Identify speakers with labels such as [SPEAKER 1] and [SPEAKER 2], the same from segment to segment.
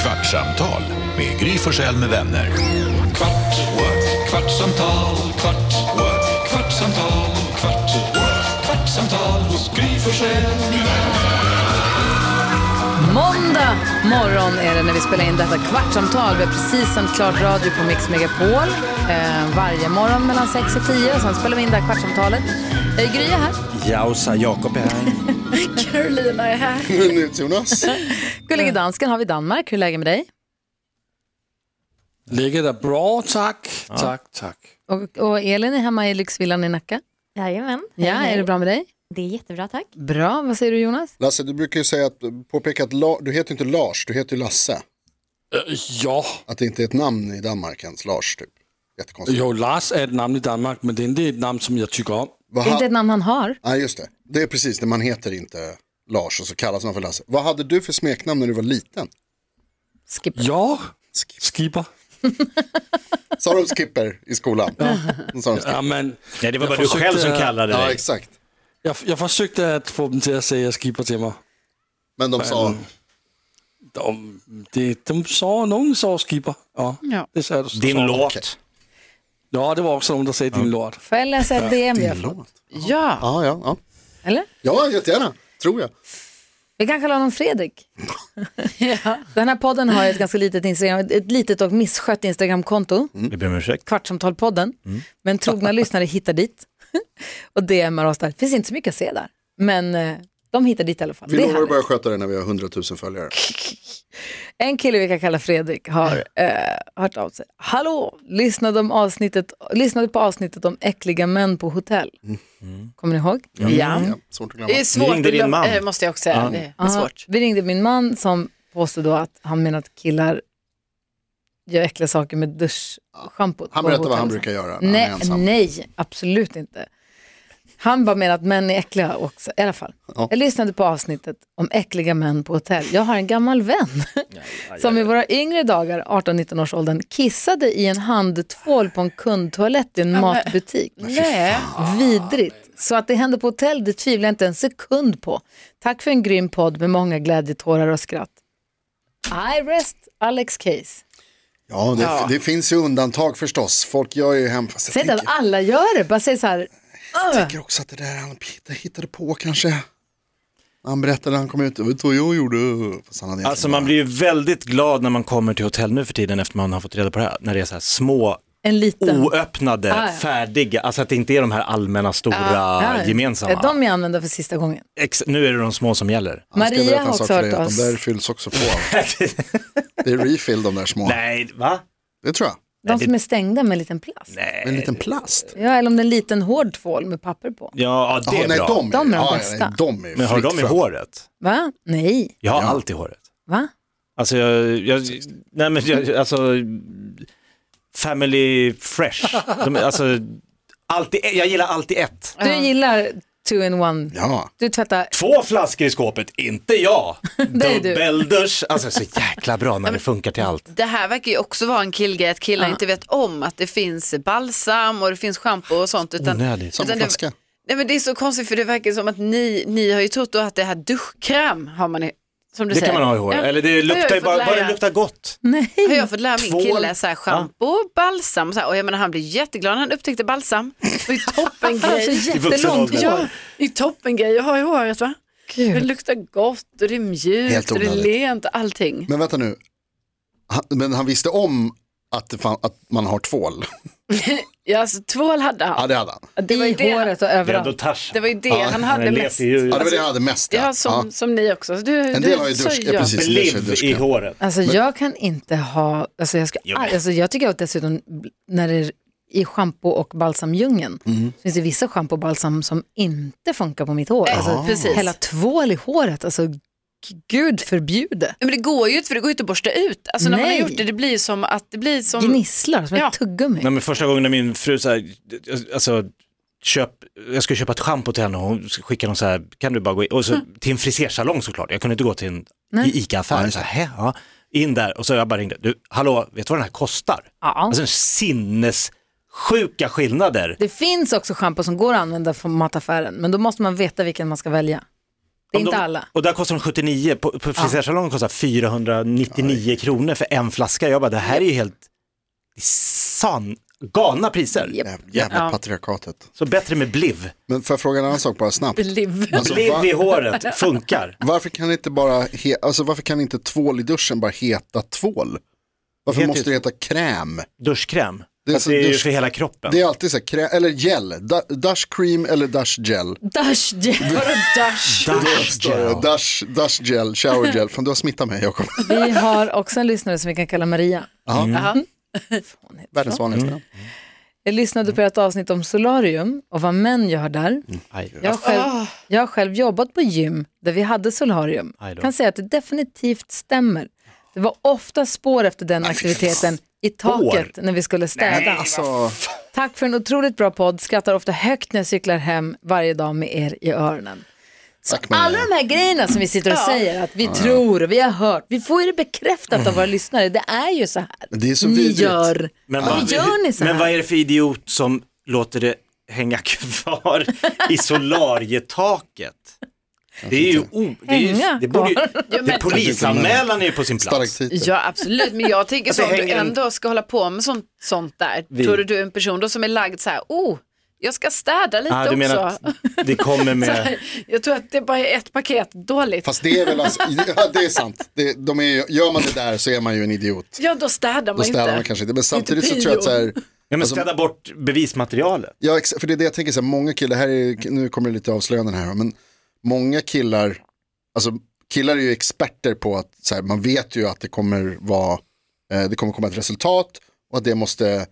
[SPEAKER 1] kvartsamtal med Gry Forssell med vänner. Kvart, what? kvartsamtal, kvart, what? kvartsamtal, kvart, what? kvartsamtal hos Gry Forssell med vänner.
[SPEAKER 2] Måndag morgon är det när vi spelar in detta kvartsamtal. Vi har precis sänt klart radio på Mix Megapol eh, varje morgon mellan 6 och 10. Sen spelar vi in det här kvartsamtalet. Eh, Gry är här.
[SPEAKER 3] Jausa, Jakob är här.
[SPEAKER 4] Carolina är här.
[SPEAKER 5] Jonas.
[SPEAKER 2] Gullige dansken har vi i Danmark. Hur är läget med dig?
[SPEAKER 3] Ligger det bra, tack. Tack, tack.
[SPEAKER 2] Och, och Elin är hemma i lyxvillan i Nacka.
[SPEAKER 4] Jajamän. Eh,
[SPEAKER 2] Ja, är det bra med dig?
[SPEAKER 4] Det är jättebra, tack.
[SPEAKER 2] Bra. Vad säger du Jonas?
[SPEAKER 5] Lasse, du brukar ju säga att, påpeka att La, du heter inte Lars, du heter ju Lasse.
[SPEAKER 3] Eh, ja,
[SPEAKER 5] Att det inte är ett namn i Danmark ens, Lars typ. Jättekonstigt.
[SPEAKER 3] jo, Lars är ett namn i Danmark, men det är inte ett namn som jag tycker om.
[SPEAKER 5] Vad
[SPEAKER 2] Det är
[SPEAKER 5] ha-
[SPEAKER 2] inte ett namn han har.
[SPEAKER 5] Nej, just det. Det är precis när man heter inte Lars och så kallas man för Lasse. Vad hade du för smeknamn när du var liten?
[SPEAKER 2] Skipper.
[SPEAKER 3] Ja,
[SPEAKER 5] Skip.
[SPEAKER 3] Skipper.
[SPEAKER 5] Sa de Skipper i skolan? Då sa de skipper.
[SPEAKER 3] Ja, men,
[SPEAKER 6] Nej, det var bara
[SPEAKER 3] Jag
[SPEAKER 6] du
[SPEAKER 3] försökte-
[SPEAKER 6] själv som kallade
[SPEAKER 5] Ja,
[SPEAKER 6] dig.
[SPEAKER 5] exakt.
[SPEAKER 3] jag, jag försökte att få dem till att säga Skipper till mig.
[SPEAKER 5] Men de sa,
[SPEAKER 3] De, de, de sa, någon sa Skipper. Ja, det sa du.
[SPEAKER 6] Din låt.
[SPEAKER 3] Ja, det var också någon som sa din låt.
[SPEAKER 2] Får jag läsa ett DM vi har fått? Ja,
[SPEAKER 5] ja, ja, ja.
[SPEAKER 2] eller?
[SPEAKER 5] Ja, jättegärna, tror jag.
[SPEAKER 2] Vi kan kalla honom Fredrik. Den här podden har ju ett ganska litet Instagram, ett litet och misskött Instagramkonto.
[SPEAKER 6] Vi ber om ursäkt.
[SPEAKER 2] Kvartsamtalpodden,
[SPEAKER 5] Mm.
[SPEAKER 2] men trogna lyssnare hittar dit och DMar oss där. Det finns inte så mycket att se där, men eh, de hittar dit i alla fall.
[SPEAKER 5] Vi
[SPEAKER 2] Det är
[SPEAKER 5] lovar att
[SPEAKER 2] härligt.
[SPEAKER 5] börja sköta det när vi har 100 000 följare.
[SPEAKER 2] En kille vi kan kalla Fredrik har eh, hört av sig. Hallå, lyssnade, om avsnittet, lyssnade på avsnittet om äckliga män på hotell. Kommer ni ihåg?
[SPEAKER 7] Ja.
[SPEAKER 5] Mm. Ja, svårt att glömma.
[SPEAKER 7] Det är svårt,
[SPEAKER 6] ringde din
[SPEAKER 7] det lo-
[SPEAKER 6] man.
[SPEAKER 7] eh, måste jag också säga. Det är
[SPEAKER 2] Aha.
[SPEAKER 7] svårt.
[SPEAKER 2] Vi ringde min man som påstod då att han menar att killar gör äckliga saker med duschschampot.
[SPEAKER 5] Han
[SPEAKER 2] på
[SPEAKER 5] berättar vad
[SPEAKER 2] hotell.
[SPEAKER 5] han brukar göra när
[SPEAKER 2] Nej,
[SPEAKER 5] han är ensam.
[SPEAKER 2] nej, absolut inte. Han bara menar att män är äckliga också, i alla fall.
[SPEAKER 5] Ja.
[SPEAKER 2] Jag lyssnade på avsnittet om äckliga män på hotell. Jag har en gammal vän som i våra yngre dagar, 18-19 års åldern, kissade i en handtvål på en kundtoalett i en matbutik.
[SPEAKER 7] Nej.
[SPEAKER 2] Vidrigt. Så att det händer på hotell, det tvivlar jag inte en sekund på. Tack för en grym podd med många glädjetårar och skratt. I rest Alex Case.
[SPEAKER 5] Ja, det, det finns ju undantag förstås. Folk gör ju hem... Fast jag
[SPEAKER 2] Säg inte att
[SPEAKER 5] tänker-
[SPEAKER 2] alla gör det, bara säg så här,
[SPEAKER 5] tänker också att det där han hitta- hittade på kanske. Han berättade när han kom ut, vet du vad jag gjorde? Fast han hade egentligen
[SPEAKER 6] Alltså man
[SPEAKER 5] bara-
[SPEAKER 6] blir ju väldigt glad när man kommer till hotell nu för tiden efter man har fått reda på det här. När det är så här små
[SPEAKER 2] en liten.
[SPEAKER 6] oöppnade,
[SPEAKER 2] Ah, ja. Ah,
[SPEAKER 6] färdiga, alltså att det inte är de här allmänna, stora, gemensamma.
[SPEAKER 2] eh, De jag använder för sista gången.
[SPEAKER 6] Ex- nu är det de små som gäller.
[SPEAKER 5] Han ska
[SPEAKER 2] Maria
[SPEAKER 5] berätta en
[SPEAKER 2] har
[SPEAKER 5] sak
[SPEAKER 2] också
[SPEAKER 5] för
[SPEAKER 2] hört
[SPEAKER 5] dig, att
[SPEAKER 2] oss.
[SPEAKER 5] De där fylls också på. det är refill de där små.
[SPEAKER 6] Nej, va?
[SPEAKER 5] Det tror jag.
[SPEAKER 2] De som är stängda med en liten plast.
[SPEAKER 5] Med en liten plast.
[SPEAKER 2] Ja, eller om det är en liten hård tvål med papper på.
[SPEAKER 6] Ja, ja, det
[SPEAKER 5] Jaha,
[SPEAKER 6] är
[SPEAKER 5] nej,
[SPEAKER 6] bra.
[SPEAKER 5] de,
[SPEAKER 2] De är de
[SPEAKER 5] ja,
[SPEAKER 2] bästa.
[SPEAKER 5] nej, de är
[SPEAKER 6] Men har
[SPEAKER 5] fritt
[SPEAKER 6] de i
[SPEAKER 5] fram.
[SPEAKER 6] håret?
[SPEAKER 2] Va? Nej.
[SPEAKER 6] Jag har allt i håret.
[SPEAKER 2] Va?
[SPEAKER 6] Alltså, jag, jag, nej men jag, alltså, family fresh. De, är- alltså, allt i, jag gillar allt i ett.
[SPEAKER 2] Du gillar two in one.
[SPEAKER 5] Ja,
[SPEAKER 2] Du tvättar.
[SPEAKER 6] Två flaskor i skåpet, inte jag.
[SPEAKER 2] är du.
[SPEAKER 6] Dubbeldusch, alltså så jäkla bra när det funkar till allt.
[SPEAKER 7] Det här verkar ju också vara en killgrej att killar inte vet om att det finns balsam och det finns schampo och sånt. Utan,
[SPEAKER 6] Onödigt.
[SPEAKER 5] samma
[SPEAKER 7] utan det,
[SPEAKER 5] flaska.
[SPEAKER 7] nej men det är så konstigt för det verkar som att ni, ni har ju trott då att det här duschkräm har man i, som du
[SPEAKER 6] Det
[SPEAKER 7] säger.
[SPEAKER 6] kan man ha i håret,
[SPEAKER 7] Ja.
[SPEAKER 6] eller
[SPEAKER 7] Har
[SPEAKER 6] det
[SPEAKER 7] jag
[SPEAKER 6] luktar ju
[SPEAKER 7] fått
[SPEAKER 6] bara, bara det
[SPEAKER 7] lära.
[SPEAKER 6] luktar gott.
[SPEAKER 2] Nej.
[SPEAKER 7] Hur jag har fått lära min
[SPEAKER 6] Tvål.
[SPEAKER 7] kille så här, schampo, balsam och, så här, och jag menar han blev jätteglad när han upptäckte balsam. Alltså, Det var ju
[SPEAKER 2] Han
[SPEAKER 7] toppen
[SPEAKER 2] har så
[SPEAKER 7] grej.
[SPEAKER 6] vuxen
[SPEAKER 2] jättelångt
[SPEAKER 6] ålder.
[SPEAKER 2] hår.
[SPEAKER 7] Ja, det är toppen grej att ha i håret va? Det
[SPEAKER 2] Gud.
[SPEAKER 7] luktar gott och det är
[SPEAKER 5] Helt
[SPEAKER 7] mjukt och det är
[SPEAKER 5] onödigt.
[SPEAKER 7] lent och allting.
[SPEAKER 5] Men vänta nu. Han, men han visste om att, det fan, att man har tvål.
[SPEAKER 7] Ja, alltså, tvål hade han.
[SPEAKER 5] Ja, det hade han.
[SPEAKER 7] Det var ju
[SPEAKER 2] I
[SPEAKER 7] det-
[SPEAKER 2] håret och
[SPEAKER 6] Det är ändå
[SPEAKER 2] överallt.
[SPEAKER 6] Tarzan.
[SPEAKER 7] Det var ju det han hade
[SPEAKER 6] leker
[SPEAKER 7] mest.
[SPEAKER 6] ju-
[SPEAKER 5] Ja, det var
[SPEAKER 2] Alltså,
[SPEAKER 5] det han hade mest.
[SPEAKER 7] Ja, som, som ni också. Du,
[SPEAKER 5] En
[SPEAKER 7] du,
[SPEAKER 5] del har ju
[SPEAKER 7] så
[SPEAKER 5] dusch,
[SPEAKER 7] jag.
[SPEAKER 5] ja, precis. det är så
[SPEAKER 6] Bliv i
[SPEAKER 5] duschkräm.
[SPEAKER 6] håret.
[SPEAKER 2] Alltså jag kan inte ha, alltså jag, ska,
[SPEAKER 6] Jo, men-
[SPEAKER 2] alltså, jag tycker att dessutom när det är i schampo och balsamdjungeln så finns det vissa schampo och balsam som inte funkar på mitt hår.
[SPEAKER 7] Eh,
[SPEAKER 2] Alltså,
[SPEAKER 7] Precis.
[SPEAKER 2] Hälla tvål i håret, alltså g- gud förbjude.
[SPEAKER 7] Men det går ju inte, för det går ju inte att borsta ut. Alltså när man har
[SPEAKER 2] Nej.
[SPEAKER 7] gjort det, det blir ju som att det blir som...
[SPEAKER 2] Gnisslar som
[SPEAKER 7] Ja.
[SPEAKER 2] ett tuggummi.
[SPEAKER 6] Nej, men första gången när min fru så här, alltså, köp, jag skulle köpa ett schampo till henne och hon skickade någon så här, kan du bara gå in, och så,
[SPEAKER 7] Hm.
[SPEAKER 6] till en frisersalong såklart, jag kunde inte gå till en i ICA-affär. Så här, "Hä? ja. In där och så jag bara ringde, du, hallå, vet du vad den här kostar?
[SPEAKER 2] Ja.
[SPEAKER 6] Alltså sinnessjuka skillnader.
[SPEAKER 2] Det finns också schampo som går att använda från mataffären, men då måste man veta vilken man ska välja. Det är
[SPEAKER 6] Om
[SPEAKER 2] inte
[SPEAKER 6] de-
[SPEAKER 2] alla.
[SPEAKER 6] Och där kostar de 79, på, på frisersalongen kostar 499 kronor för en flaska. Jag bara, det här är ju helt san, galna priser.
[SPEAKER 5] Jävla
[SPEAKER 7] Ja.
[SPEAKER 5] patriarkatet.
[SPEAKER 6] Så bättre med bliv.
[SPEAKER 5] Men får jag fråga en annan sak bara snabbt?
[SPEAKER 2] Liv.
[SPEAKER 5] Alltså,
[SPEAKER 6] Bliv
[SPEAKER 5] va-
[SPEAKER 6] i håret funkar.
[SPEAKER 5] Varför kan inte bara, he- alltså varför kan inte tvål i duschen bara heta tvål? Varför
[SPEAKER 6] Heter
[SPEAKER 5] måste
[SPEAKER 6] ju-
[SPEAKER 5] det heta kräm?
[SPEAKER 6] Duschkräm.
[SPEAKER 5] Det är
[SPEAKER 6] Fast
[SPEAKER 5] så
[SPEAKER 6] det är ju
[SPEAKER 5] dusch-
[SPEAKER 6] för hela kroppen.
[SPEAKER 5] Det är alltid så här, krä- eller gel, da- dash cream eller dash gel.
[SPEAKER 2] Dash, Vadå dash?
[SPEAKER 6] Dusch,
[SPEAKER 5] Står det.
[SPEAKER 6] ja.
[SPEAKER 5] Dash, dash gel, shower gel. Fan du har smittat mig Jakob.
[SPEAKER 2] Vi har också en lyssnare som vi kan kalla Maria.
[SPEAKER 7] Jaha.
[SPEAKER 5] Världens vanligaste.
[SPEAKER 2] Jag lyssnade på ert avsnitt om solarium och vad män gör där.
[SPEAKER 5] Mm,
[SPEAKER 6] Aj.
[SPEAKER 2] Jag har, själv, jag har själv jobbat på gym där vi hade solarium.
[SPEAKER 6] Aj då.
[SPEAKER 2] Kan säga att det definitivt stämmer. Det var ofta spår efter den aktiviteten i taket när vi skulle städa.
[SPEAKER 5] Alltså,
[SPEAKER 2] Tack för en otroligt bra podd. Skrattar ofta högt när jag cyklar hem varje dag med er i öronen.
[SPEAKER 5] tack Maria.
[SPEAKER 2] Alla de här grejerna som vi sitter och säger att vi tror och vi har hört. Vi får ju det bekräftat av våra lyssnare. Det är ju så här.
[SPEAKER 5] Men det är så
[SPEAKER 2] Ni
[SPEAKER 5] vidrigt.
[SPEAKER 2] gör.
[SPEAKER 6] Men,
[SPEAKER 2] Varför gör ni så
[SPEAKER 6] men
[SPEAKER 2] här?
[SPEAKER 6] vad är det för idiot som låter det hänga kvar i solarietaket? Det är ju o... Det, är ju,
[SPEAKER 2] Hänga
[SPEAKER 6] det borde ju... Det
[SPEAKER 7] men-
[SPEAKER 6] polisanmälan är ju på sin plats.
[SPEAKER 5] Stark titel.
[SPEAKER 7] Ja absolut, men jag tänker så
[SPEAKER 5] Alltså,
[SPEAKER 6] Att det
[SPEAKER 7] om du
[SPEAKER 6] hänger en-
[SPEAKER 7] ändå ska hålla på med sånt, sånt där, tror du du är en person då som är lagd så här, oh, jag ska städa lite
[SPEAKER 6] Ah, du
[SPEAKER 7] också.
[SPEAKER 6] menar eh, att det kommer med...
[SPEAKER 7] Jag tror att det bara är ett paket dåligt.
[SPEAKER 5] Fast det är väl alltså, ja, det är sant. Det, de är, ju- gör man det där så är man ju en idiot.
[SPEAKER 7] Ja, då städar man
[SPEAKER 5] Då städar
[SPEAKER 7] inte.
[SPEAKER 5] man kanske inte. Men samtidigt så tror jag att så här,
[SPEAKER 6] Ja,
[SPEAKER 5] Alltså-
[SPEAKER 6] men städa bort bevismaterialet.
[SPEAKER 5] Ja, ex- för det är det jag tänker, så här, många killar, här är, nu kommer det lite avslöjanden här, men många killar, alltså killar är ju experter på att så här, man vet ju att det kommer vara, eh, det kommer komma ett resultat och att det måste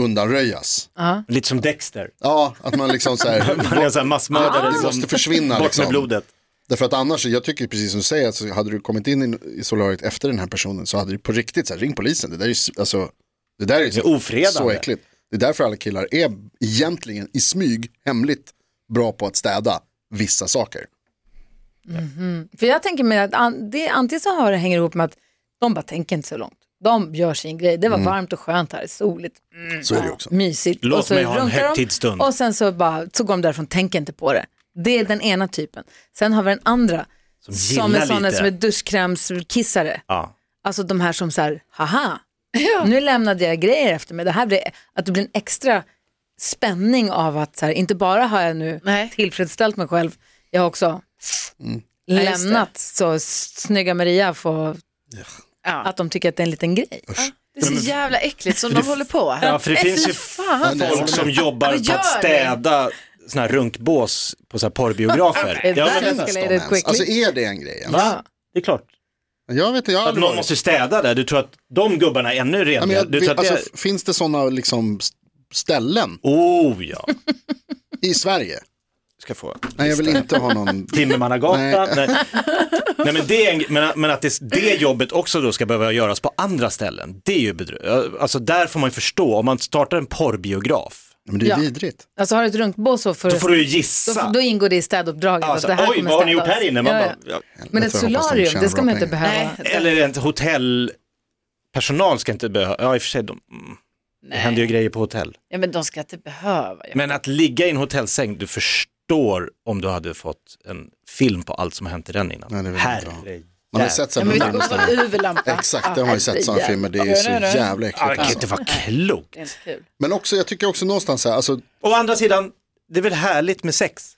[SPEAKER 5] undanröjas.
[SPEAKER 6] Lite som Dexter.
[SPEAKER 5] Ja, att man liksom så här,
[SPEAKER 6] Han är så här massmördare
[SPEAKER 5] det
[SPEAKER 6] som...
[SPEAKER 5] måste försvinna
[SPEAKER 6] Bort med
[SPEAKER 5] liksom.
[SPEAKER 6] blodet.
[SPEAKER 5] Därför att annars, jag tycker precis som du säger, alltså, hade du kommit in i, i solariet efter den här personen så hade du på riktigt så här, ring polisen, det där är ju, s- alltså, det där är ju
[SPEAKER 6] Det är ofredande.
[SPEAKER 5] så äckligt. Det är därför alla killar är egentligen i smyg, hemligt, bra på att städa vissa saker.
[SPEAKER 2] För jag tänker mig att an, det, antingen så har det hänger ihop med att de bara tänker inte så långt. De gör sin grej. Det var varmt och skönt här, soligt,
[SPEAKER 5] Så är det ju också.
[SPEAKER 2] mysigt.
[SPEAKER 6] Mm. Låt
[SPEAKER 2] och så
[SPEAKER 6] mig ha en
[SPEAKER 2] runkar de,
[SPEAKER 6] högtidsstund.
[SPEAKER 2] Och sen så, bara, så går de därifrån, tänker inte på det. Det är den ena typen. Sen har vi den andra som,
[SPEAKER 6] gillar
[SPEAKER 2] är sådana
[SPEAKER 6] lite.
[SPEAKER 2] som är duschkrämskissare.
[SPEAKER 6] Ja.
[SPEAKER 2] Alltså de här som så här, haha, nu lämnade jag grejer efter mig. Det här blir, att det blir en extra spänning av att så här, inte bara har jag nu
[SPEAKER 7] Nej.
[SPEAKER 2] tillfredsställt mig själv, jag har också
[SPEAKER 6] Mm.
[SPEAKER 7] Ja, just det.
[SPEAKER 2] lämnat så snygga Maria får
[SPEAKER 7] Ja.
[SPEAKER 2] att de tycker att det är en liten grej.
[SPEAKER 7] Det är så jävla äckligt som de håller på.
[SPEAKER 6] ja, för det finns ju
[SPEAKER 7] Fan.
[SPEAKER 6] Alltså, folk som jobbar
[SPEAKER 7] men
[SPEAKER 6] på att
[SPEAKER 7] gör det.
[SPEAKER 6] städa såna här runkbås på så här porrbiografer.
[SPEAKER 2] Är
[SPEAKER 6] Ja,
[SPEAKER 2] that
[SPEAKER 6] men,
[SPEAKER 5] Nästan
[SPEAKER 2] escalated
[SPEAKER 5] ens.
[SPEAKER 2] quickly?
[SPEAKER 5] Alltså är det en grej? ens?
[SPEAKER 2] Va?
[SPEAKER 6] det är klart.
[SPEAKER 5] Jag vet inte, jag har
[SPEAKER 6] Att
[SPEAKER 5] aldrig
[SPEAKER 6] någon
[SPEAKER 5] varit.
[SPEAKER 6] måste städa där, du tror att de gubbarna är ännu
[SPEAKER 5] Ja, men
[SPEAKER 6] renare?
[SPEAKER 5] jag,
[SPEAKER 6] Du tror att
[SPEAKER 5] alltså,
[SPEAKER 6] det...
[SPEAKER 5] f- Finns det sådana liksom s- ställen
[SPEAKER 6] Oh ja.
[SPEAKER 5] i Sverige?
[SPEAKER 6] Ska få.
[SPEAKER 5] Nej, jag vill inte ha någon.
[SPEAKER 6] Timmermannagatan.
[SPEAKER 5] Nej.
[SPEAKER 6] Nej. Nej, men det, är en- men, men att det, det jobbet också då ska behöva göras på andra ställen, det är ju bedrövligt. Alltså där får man ju förstå, om man startar en porrbiograf,
[SPEAKER 5] Men det är
[SPEAKER 2] Ja.
[SPEAKER 5] vidrigt.
[SPEAKER 2] Alltså har du ett runkbås så får,
[SPEAKER 6] då får du ju
[SPEAKER 2] då,
[SPEAKER 6] gissa.
[SPEAKER 2] då ingår det i städuppdraget.
[SPEAKER 6] Alltså,
[SPEAKER 2] att det här
[SPEAKER 6] oj,
[SPEAKER 2] kommer
[SPEAKER 6] vad har ni gjort
[SPEAKER 2] städas.
[SPEAKER 6] här inne? Man
[SPEAKER 2] Ja,
[SPEAKER 6] bara,
[SPEAKER 2] ja.
[SPEAKER 6] ja.
[SPEAKER 2] Men
[SPEAKER 5] Jag
[SPEAKER 2] ett
[SPEAKER 5] tror jag hoppas de
[SPEAKER 2] solarium,
[SPEAKER 5] tjänar
[SPEAKER 2] det ska
[SPEAKER 5] bra
[SPEAKER 2] man ju inte
[SPEAKER 5] pengar.
[SPEAKER 2] behöva.
[SPEAKER 7] Nej.
[SPEAKER 6] Eller inte hotellpersonal ska inte behöva, ja i och för sig, de, mm, det händer ju grejer på hotell.
[SPEAKER 7] Ja, men de ska inte behöva. Ja.
[SPEAKER 6] Men att ligga i en hotellsäng, du förstår om du hade fått en film på allt som har hänt i den innan.
[SPEAKER 5] Nej, det vill jag inte ha.
[SPEAKER 6] Herre.
[SPEAKER 5] Man har
[SPEAKER 6] Där.
[SPEAKER 5] sett
[SPEAKER 7] Ja, men vi
[SPEAKER 5] sådana
[SPEAKER 7] ska också ha en UV-lampa.
[SPEAKER 5] Exakt, det har man ju sett sådana filmer. Det är ju så jävla äckligt.
[SPEAKER 6] Ja, Det kan
[SPEAKER 5] alltså.
[SPEAKER 6] inte vara klokt.
[SPEAKER 7] Det är inte kul.
[SPEAKER 5] Men också, jag tycker också någonstans så här, alltså
[SPEAKER 6] Å andra sidan, det är väl härligt med sex?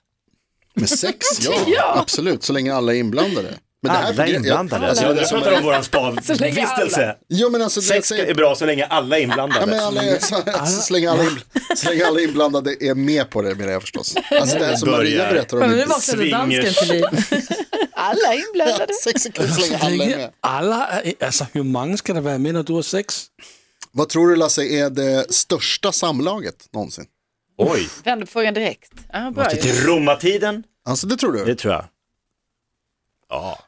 [SPEAKER 5] med sex, ja, absolut, så länge alla är inblandade. Men
[SPEAKER 6] alla är
[SPEAKER 5] jag-
[SPEAKER 6] inblandade. Alltså,
[SPEAKER 5] Ja,
[SPEAKER 6] jag
[SPEAKER 5] det som
[SPEAKER 6] pratar
[SPEAKER 5] är-
[SPEAKER 6] om våran spa-vistelse.
[SPEAKER 5] Jo men alltså, det jag
[SPEAKER 6] Sex
[SPEAKER 5] säger-
[SPEAKER 6] är bra så länge alla är
[SPEAKER 5] Ja, men
[SPEAKER 6] inblandade.
[SPEAKER 5] alla är, så, alltså, så, länge alla inbl- så länge alla inblandade är med på det menar jag förstås. Alltså det här som Maria
[SPEAKER 6] Börjar.
[SPEAKER 5] berättar om.
[SPEAKER 2] Men
[SPEAKER 5] är-
[SPEAKER 2] nu vaknade dansken
[SPEAKER 6] Swingers.
[SPEAKER 2] till liv.
[SPEAKER 7] Alla är inblandade.
[SPEAKER 5] Sex är kul så länge alla är med.
[SPEAKER 3] Alla, er- altså, hvor mange skal der være med, når du har sex?
[SPEAKER 5] Vad tror du Lasse är det största samlaget någonsin?
[SPEAKER 6] Oj,
[SPEAKER 7] Vänder på frågan direkt. Ja, bra ju.
[SPEAKER 6] till romartiden?
[SPEAKER 5] Alltså det tror
[SPEAKER 6] Det
[SPEAKER 5] du?
[SPEAKER 6] tror jag.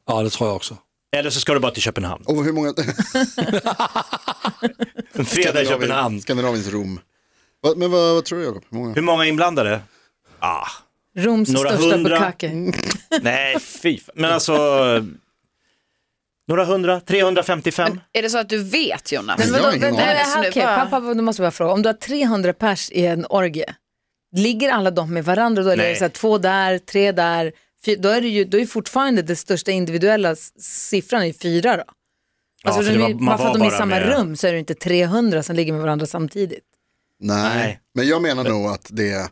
[SPEAKER 3] Ja, det tror jeg også.
[SPEAKER 6] Eller så ska du bara till Köpenhamn.
[SPEAKER 5] Och hur många?
[SPEAKER 6] En fredag i Köpenhamn.
[SPEAKER 5] Skandinaviens Rom. Vad- Men vad, vad tror du Jakob? Hur många?
[SPEAKER 6] Hur många är inblandade? Ah,
[SPEAKER 2] Roms
[SPEAKER 6] Några
[SPEAKER 2] största
[SPEAKER 6] hundra.
[SPEAKER 2] bukake.
[SPEAKER 6] nej, fy fan. Men alltså, några hundra, 355?
[SPEAKER 7] Är det så att du vet Jonas?
[SPEAKER 5] Men vadå, Jag har ingen
[SPEAKER 2] Nej,
[SPEAKER 5] aning.
[SPEAKER 2] men här, okej, pappa, nu måste jag bara fråga, om du har 300 pers i en orgie, ligger alla de med varandra då? Eller är det
[SPEAKER 6] Nej.
[SPEAKER 2] så här, två där, tre där, Fy- Då är, det ju, då är ju fortfarande den största individuella s- siffran i fyra då. Alltså,
[SPEAKER 6] för
[SPEAKER 2] de,
[SPEAKER 6] det var-
[SPEAKER 2] är-
[SPEAKER 6] man
[SPEAKER 2] bara för
[SPEAKER 6] var
[SPEAKER 2] att de är i
[SPEAKER 6] bara
[SPEAKER 2] samma
[SPEAKER 6] med-
[SPEAKER 2] rum så är det inte 300 som ligger med varandra samtidigt.
[SPEAKER 5] Nej.
[SPEAKER 6] Nej.
[SPEAKER 5] men jag menar nog att det,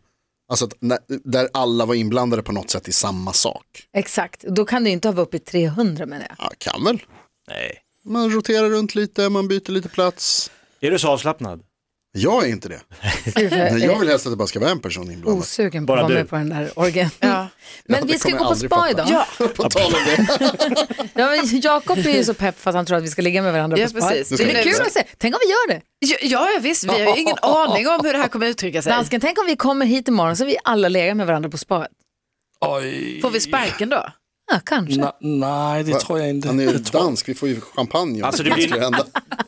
[SPEAKER 5] alltså att när, där alla var inblandade på något sätt i samma sak.
[SPEAKER 2] Exakt, då kan du inte ha varit uppe i 300 menar jag.
[SPEAKER 5] Ja, kan väl.
[SPEAKER 6] Nej.
[SPEAKER 5] Man roterar runt lite, man byter lite plats.
[SPEAKER 6] Är du så avslappnad?
[SPEAKER 5] Jag är inte det.
[SPEAKER 2] Gud, Oh, jag
[SPEAKER 5] Nej,
[SPEAKER 2] är
[SPEAKER 5] jag vill helst att det bara ska vara en person inblandad.
[SPEAKER 2] osugen på
[SPEAKER 6] Bara
[SPEAKER 2] att vara
[SPEAKER 6] du.
[SPEAKER 2] med på den där orgen.
[SPEAKER 7] Ja.
[SPEAKER 2] Men vi
[SPEAKER 5] det
[SPEAKER 2] ska gå
[SPEAKER 5] kommer
[SPEAKER 2] på
[SPEAKER 5] jag aldrig
[SPEAKER 2] spa
[SPEAKER 5] fatta.
[SPEAKER 2] idag.
[SPEAKER 7] Ja,
[SPEAKER 5] På tal om det.
[SPEAKER 2] Ja, men Jakob är ju så pepp för att han tror att vi ska ligga med varandra
[SPEAKER 7] Ja,
[SPEAKER 2] på spa.
[SPEAKER 7] precis.
[SPEAKER 2] Det blir
[SPEAKER 7] Det är
[SPEAKER 2] kul
[SPEAKER 7] nu.
[SPEAKER 2] att se. Tänk om vi gör det.
[SPEAKER 7] ja, ja visst, vi har ju ingen aning om hur det här kommer uttrycka sig.
[SPEAKER 2] Dansken, tänk om vi kommer hit imorgon så har vi alla legat med varandra på spaet.
[SPEAKER 3] Oj.
[SPEAKER 7] Får vi sparken då?
[SPEAKER 2] Ja, kanske.
[SPEAKER 3] Na, nej, det tror jag inte.
[SPEAKER 5] Han är ju
[SPEAKER 3] det tror...
[SPEAKER 5] dansk, vi får ju champagne om
[SPEAKER 6] Alltså, det
[SPEAKER 5] det
[SPEAKER 6] blir-
[SPEAKER 5] skulle hända.
[SPEAKER 3] Ska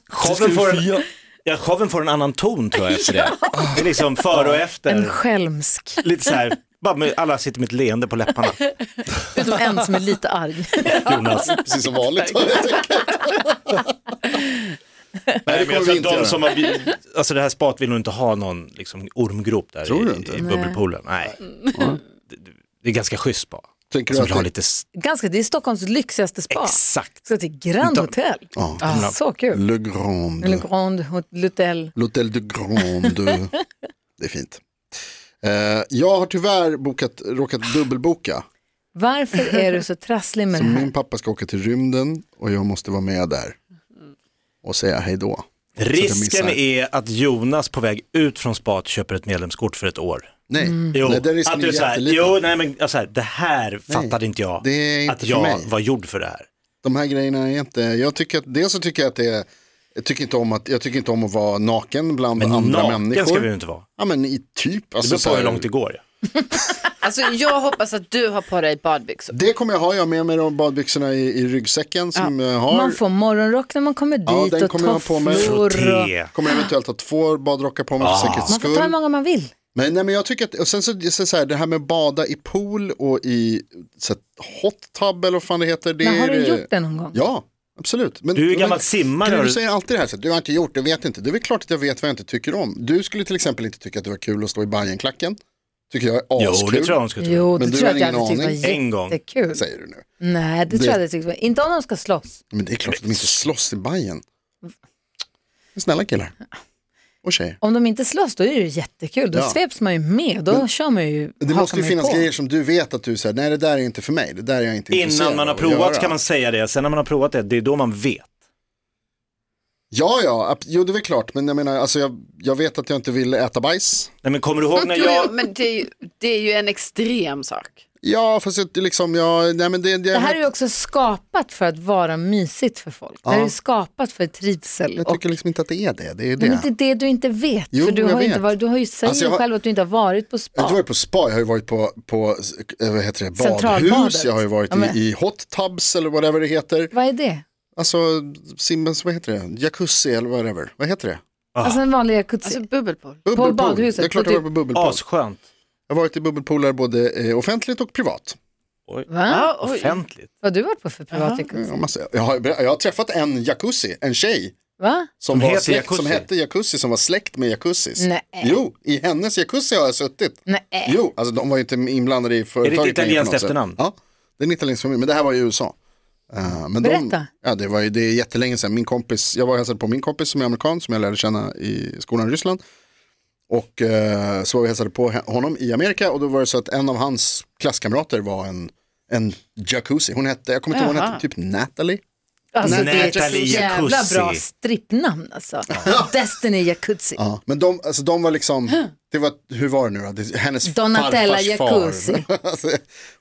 [SPEAKER 6] Showen
[SPEAKER 3] vi
[SPEAKER 6] får,
[SPEAKER 3] fira?
[SPEAKER 6] ja, showen får en annan ton tror jag efter det. Det är liksom före och
[SPEAKER 2] En
[SPEAKER 6] efter.
[SPEAKER 2] skälmsk,
[SPEAKER 6] Lite så här, bara med, alla sitter med ett leende på läpparna.
[SPEAKER 2] utom en som är lite arg.
[SPEAKER 6] Jonas.
[SPEAKER 5] Precis som vanligt. Jag tänker.
[SPEAKER 6] Nej, men
[SPEAKER 5] kommer
[SPEAKER 6] jag
[SPEAKER 5] vi
[SPEAKER 6] tror
[SPEAKER 5] inte
[SPEAKER 6] att de
[SPEAKER 5] göra.
[SPEAKER 6] som har, bli- alltså det här spat vill nog inte ha någon liksom, ormgrop där
[SPEAKER 5] Tror du
[SPEAKER 6] i,
[SPEAKER 5] inte?
[SPEAKER 6] i bubbelpoolen. Nej. Det, det är ganska schysst spa.
[SPEAKER 5] Tänker du
[SPEAKER 6] Som vill ha
[SPEAKER 5] att det,
[SPEAKER 6] lite, s-
[SPEAKER 2] Ganska, det är Stockholms lyxigaste spa.
[SPEAKER 6] exakt.
[SPEAKER 2] Ska till Grand Hotel.
[SPEAKER 5] Ja.
[SPEAKER 2] Ah, så kul.
[SPEAKER 5] Le
[SPEAKER 2] Le
[SPEAKER 5] Grand,
[SPEAKER 2] Grand Hotel.
[SPEAKER 5] L'Hôtel de Grande. Det är fint. Eh, jag har tyvärr bokat, råkat dubbelboka.
[SPEAKER 2] Varför är du så trasslig med
[SPEAKER 5] Så
[SPEAKER 2] det här?
[SPEAKER 5] Mm. min pappa ska åka till rymden och jag måste vara med där och säga hej då.
[SPEAKER 6] Risken
[SPEAKER 5] missar.
[SPEAKER 6] är att Jonas på väg ut från spat köper ett medlemskort för ett år.
[SPEAKER 5] Nej,
[SPEAKER 6] Mm. Jo,
[SPEAKER 5] nej den risken
[SPEAKER 6] att du
[SPEAKER 5] är
[SPEAKER 6] så här,
[SPEAKER 5] jätteliten.
[SPEAKER 6] jo nej, men alltså, här, det här fattade inte jag.
[SPEAKER 5] det är inte
[SPEAKER 6] att
[SPEAKER 5] för
[SPEAKER 6] jag
[SPEAKER 5] mig.
[SPEAKER 6] var gjord för det här.
[SPEAKER 5] De här grejerna är inte, jag tycker att, dels så tycker jag att det är, jag tycker inte om att, jag tycker inte om att vara naken bland andra
[SPEAKER 6] Naken
[SPEAKER 5] människor.
[SPEAKER 6] ska vi ju inte vara.
[SPEAKER 5] Ja men i typ,
[SPEAKER 6] Det
[SPEAKER 5] alltså,
[SPEAKER 6] beror
[SPEAKER 5] så
[SPEAKER 6] på
[SPEAKER 5] här,
[SPEAKER 6] hur långt det går.
[SPEAKER 7] Alltså jag hoppas att du har på dig badbyxor.
[SPEAKER 5] det kommer jag ha, jag har med mig de badbyxorna i, i ryggsäcken som jag har.
[SPEAKER 2] Man får morgonrock när man kommer dit
[SPEAKER 5] Ja, den
[SPEAKER 2] och
[SPEAKER 5] kommer jag ha på mig.
[SPEAKER 2] tofflor. och-
[SPEAKER 6] Frotté.
[SPEAKER 5] Kommer eventuellt ha två badrockar på mig
[SPEAKER 6] Ah.
[SPEAKER 5] för säkerhets
[SPEAKER 2] Man får ta hur
[SPEAKER 5] skull.
[SPEAKER 2] många man vill.
[SPEAKER 5] Men, nej, men jag tycker att, och sen så, så, så här, det här med att bada i pool och i så här, hot tub eller vad fan det heter. Det
[SPEAKER 2] Men har
[SPEAKER 5] är
[SPEAKER 2] du
[SPEAKER 5] det-
[SPEAKER 2] gjort det någon gång?
[SPEAKER 5] Ja, absolut. Men,
[SPEAKER 6] Du är ju gammal
[SPEAKER 5] men-
[SPEAKER 6] simmare,
[SPEAKER 5] Gud,
[SPEAKER 6] har
[SPEAKER 5] Du
[SPEAKER 6] du-
[SPEAKER 5] säger alltid det här, så, du har inte gjort det, vet inte. Det är väl klart att jag vet vad jag inte tycker om. Du skulle till exempel inte tycka att det var kul att stå i Bajenklacken. Tycker jag är
[SPEAKER 6] Jo,
[SPEAKER 5] askul.
[SPEAKER 6] det tror jag hon skulle tro.
[SPEAKER 2] Jo, det
[SPEAKER 5] Men du
[SPEAKER 2] tror jag
[SPEAKER 5] har
[SPEAKER 2] att jag hade
[SPEAKER 5] ingen
[SPEAKER 2] tyckt var
[SPEAKER 5] aning.
[SPEAKER 6] En gång.
[SPEAKER 2] jättekul.
[SPEAKER 5] Säger du nu.
[SPEAKER 2] Nej, det tror
[SPEAKER 5] Det-
[SPEAKER 2] jag hade tyckt var... Inte om de ska slåss.
[SPEAKER 5] Men det är klart att de inte slåss i Bajen.
[SPEAKER 2] Mm.
[SPEAKER 5] Men Snälla killar. Och tjejer.
[SPEAKER 2] Om de inte slåss då är det ju jättekul, då
[SPEAKER 5] Ja.
[SPEAKER 2] sveps man ju med, då kör man ju,
[SPEAKER 5] Det
[SPEAKER 2] hakar
[SPEAKER 5] måste ju
[SPEAKER 2] man
[SPEAKER 5] finnas
[SPEAKER 2] på.
[SPEAKER 5] grejer som du vet att du säger, nej det där är inte för mig, det där är jag inte intresserad
[SPEAKER 6] Innan man har
[SPEAKER 5] av att göra."
[SPEAKER 6] provat kan man säga det. Sen när man har provat det, det är då man vet.
[SPEAKER 5] Ja, ja, ab- jo det är väl klart, men jag menar, alltså, jag, jag vet att jag inte vill äta bajs.
[SPEAKER 6] Nej, men kommer du ihåg när
[SPEAKER 7] Jo, jo,
[SPEAKER 6] jag...
[SPEAKER 7] men det är, ju, det är ju en extrem sak.
[SPEAKER 5] Ja, fast jag, liksom, jag, nej men det, det,
[SPEAKER 2] Det här är ju också skapat för att vara mysigt för folk. Det här är ju skapat för trivsel.
[SPEAKER 5] jag
[SPEAKER 2] och,
[SPEAKER 5] tycker liksom inte att det är det, det är det.
[SPEAKER 2] Men det är det du inte vet,
[SPEAKER 5] Jo,
[SPEAKER 2] för du
[SPEAKER 5] jag
[SPEAKER 2] har, ju inte
[SPEAKER 5] vet.
[SPEAKER 2] varit, du har ju säger
[SPEAKER 5] Alltså, jag har-
[SPEAKER 2] själv att du inte har varit på spa.
[SPEAKER 5] Jag har inte varit på spa, jag har ju varit på, på eh, vad heter det, badhus,
[SPEAKER 2] Centralbadet.
[SPEAKER 5] jag har ju varit
[SPEAKER 2] Ja, men-
[SPEAKER 5] i, i hot tubs eller whatever det heter.
[SPEAKER 2] Vad är det?
[SPEAKER 5] Alltså, simmens, vad heter det, jacuzzi eller whatever, vad heter det?
[SPEAKER 2] Alltså en vanlig jacuzzi.
[SPEAKER 7] Alltså bubbelpool.
[SPEAKER 5] Bubbelpool.
[SPEAKER 2] badhuset,
[SPEAKER 5] Det är klart
[SPEAKER 2] på typ-
[SPEAKER 5] jag har varit på bubbelpool.
[SPEAKER 6] Asskönt.
[SPEAKER 5] Jag har varit i bubbelpooler både eh, offentligt och privat.
[SPEAKER 2] Va?
[SPEAKER 5] ah.
[SPEAKER 7] Ja, oj.
[SPEAKER 6] Offentligt.
[SPEAKER 2] Vad har du varit på för privat jacuzzi?
[SPEAKER 5] Jag, måste, jag, har, jag har träffat en jacuzzi, en tjej,
[SPEAKER 2] Va?
[SPEAKER 5] som,
[SPEAKER 6] Som
[SPEAKER 5] var
[SPEAKER 6] heter
[SPEAKER 5] släkt,
[SPEAKER 6] jacuzzi?
[SPEAKER 5] som hette jacuzzi, som var släkt med jacuzzis.
[SPEAKER 2] Nej.
[SPEAKER 5] Jo, i hennes jacuzzi har jag suttit.
[SPEAKER 2] Nej.
[SPEAKER 5] Jo, alltså de var ju inte inblandade i företaget. längre på
[SPEAKER 6] italienskt
[SPEAKER 5] något sätt.
[SPEAKER 6] efternamn?
[SPEAKER 5] Ja, det är en italiensk familj, men det här var i USA. Eh, men
[SPEAKER 2] Berätta.
[SPEAKER 5] De, ja, det var ju det är jättelänge sedan. Min kompis, jag var och hälsade på min kompis som är amerikan, som jag lärde känna i skolan i Ryssland. Och eh, så var vi och hälsade på he- honom i Amerika och då var det så att en av hans klasskamrater var en, en jacuzzi. Hon hette, jag kommer inte ihåg, hon
[SPEAKER 7] Jaha.
[SPEAKER 5] hette typ Natalie.
[SPEAKER 2] Alltså det är ett så
[SPEAKER 6] Natalie
[SPEAKER 2] jävla
[SPEAKER 6] Jacuzzi.
[SPEAKER 2] bra strippnamn alltså. Destiny Jacuzzi.
[SPEAKER 5] Ja, men de, alltså, de var liksom, det var, hur var det nu då? Det, hennes
[SPEAKER 2] Donatella
[SPEAKER 5] farfars
[SPEAKER 2] Jacuzzi.
[SPEAKER 5] far. alltså,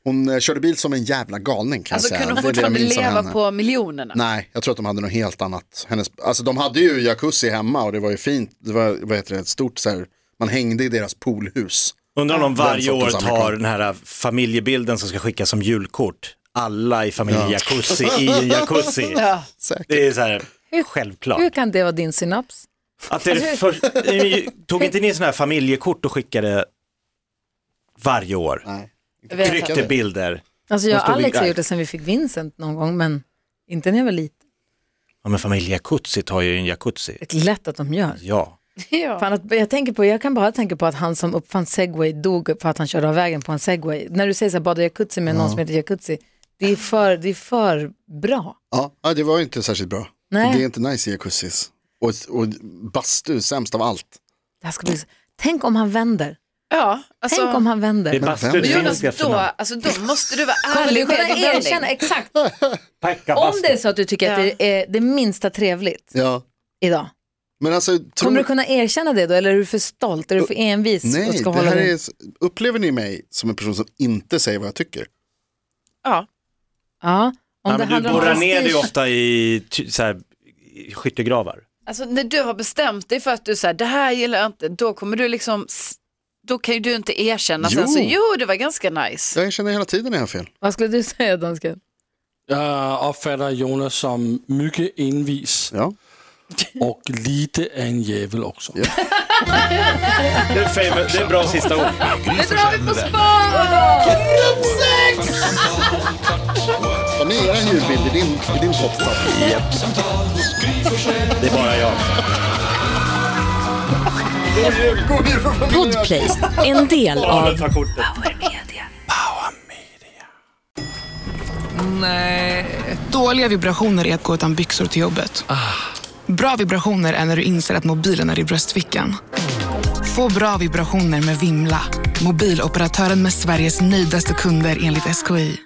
[SPEAKER 5] hon eh, körde bil som en jävla galning kan
[SPEAKER 7] Alltså
[SPEAKER 5] jag säga.
[SPEAKER 7] kunde hon
[SPEAKER 5] Det är det jag
[SPEAKER 7] fortfarande
[SPEAKER 5] minns av
[SPEAKER 7] leva
[SPEAKER 5] henne.
[SPEAKER 7] på miljonerna?
[SPEAKER 5] Nej, jag tror att de hade något helt annat. Hennes, alltså de hade ju jacuzzi hemma och det var ju fint. Det var vad heter det, ett stort så här, man hängde i deras poolhus.
[SPEAKER 6] Undrar om de varje
[SPEAKER 5] Den
[SPEAKER 6] år
[SPEAKER 5] sortens
[SPEAKER 6] tar
[SPEAKER 5] amerikan.
[SPEAKER 6] den här familjebilden som ska skickas som julkort. Alla i familjen jacuzzi i en jacuzzi.
[SPEAKER 5] Säkert.
[SPEAKER 6] Det är så här, självklart.
[SPEAKER 2] Hur kan det vara din synaps?
[SPEAKER 6] Att det är det
[SPEAKER 7] alltså-
[SPEAKER 6] för... Ni- Tog inte ni sådana här familjekort och skickade varje år?
[SPEAKER 5] Nej.
[SPEAKER 7] Jag vet inte.
[SPEAKER 6] Tryckte bilder.
[SPEAKER 2] Alltså jag och
[SPEAKER 6] Fast då vi-
[SPEAKER 2] Alex har
[SPEAKER 6] nej.
[SPEAKER 2] gjort det sen vi fick Vincent någon gång, men inte när jag var liten.
[SPEAKER 6] Ja men familjejacuzzi tar ju en jacuzzi.
[SPEAKER 2] Det är lätt att de gör.
[SPEAKER 6] Ja.
[SPEAKER 7] Ja.
[SPEAKER 2] Fan att, jag, tänker på, jag kan bara tänka på att han som uppfann segway dog för att han körde av vägen på en segway. När du säger så här, bada jacuzzi med någon som heter jacuzzi, det är för, det är för bra.
[SPEAKER 5] Ja, ja, det var ju inte särskilt bra.
[SPEAKER 2] Nej.
[SPEAKER 5] Det är inte nice i jacuzzis. Och, och bastu, sämst av allt.
[SPEAKER 2] Det här ska bli, så- tänk om han vänder.
[SPEAKER 7] Ja, alltså,
[SPEAKER 2] Tänk om han
[SPEAKER 6] Det är
[SPEAKER 2] vänder.
[SPEAKER 6] bastu, det
[SPEAKER 7] Jonas,
[SPEAKER 6] finns
[SPEAKER 7] då,
[SPEAKER 6] efternamn.
[SPEAKER 7] alltså, då måste du vara
[SPEAKER 2] Kan du
[SPEAKER 7] ärlig med
[SPEAKER 2] kunna
[SPEAKER 7] din vändning.
[SPEAKER 2] erkänna exakt?
[SPEAKER 6] Pekka
[SPEAKER 2] Om
[SPEAKER 6] bastu.
[SPEAKER 2] det är så att du tycker att
[SPEAKER 7] Ja.
[SPEAKER 2] det är det minsta trevligt
[SPEAKER 5] Ja.
[SPEAKER 2] idag,
[SPEAKER 5] Men alltså, tror...
[SPEAKER 2] kommer du kunna erkänna det då? Eller är du för stolt? Är du för envis? och
[SPEAKER 5] Nej,
[SPEAKER 2] ska
[SPEAKER 5] det
[SPEAKER 2] hålla
[SPEAKER 5] här
[SPEAKER 2] dig?
[SPEAKER 5] är... upplever ni mig som en person som inte säger vad jag tycker?
[SPEAKER 7] Ja.
[SPEAKER 2] Ja, om
[SPEAKER 6] Ja,
[SPEAKER 2] det
[SPEAKER 6] men du
[SPEAKER 2] handlar om
[SPEAKER 6] borrar ner dig
[SPEAKER 2] prestige.
[SPEAKER 6] ofta i, ty- så här, i skyttegravar.
[SPEAKER 7] Alltså när du har bestämt dig för att du säger det här gillar jag inte, då kommer du liksom, s- då kan ju du inte erkänna sen
[SPEAKER 5] Jo.
[SPEAKER 7] så jo det var ganska nice.
[SPEAKER 5] Jag känner hela tiden när jag har fel.
[SPEAKER 2] Vad skulle du säga dansken?
[SPEAKER 3] Jag uppfattar Jonas som mycket envis
[SPEAKER 5] Ja.
[SPEAKER 3] och lite av en jävel också.
[SPEAKER 6] Det är, fam- det är bra sista ord.
[SPEAKER 1] Nu drar vi på spa!
[SPEAKER 5] Ta med er ljudbild i din, i din pottapp.
[SPEAKER 6] Det är bara jag.
[SPEAKER 5] God jul för familjen!
[SPEAKER 4] Podplay, en del av
[SPEAKER 6] Ta kortet.
[SPEAKER 8] Dåliga vibrationer är att gå utan byxor till jobbet. Bra vibrationer är när du inser att mobilen är i bröstfickan. Få bra vibrationer med Vimla. Mobiloperatören med Sveriges nöjdaste kunder enligt SKI.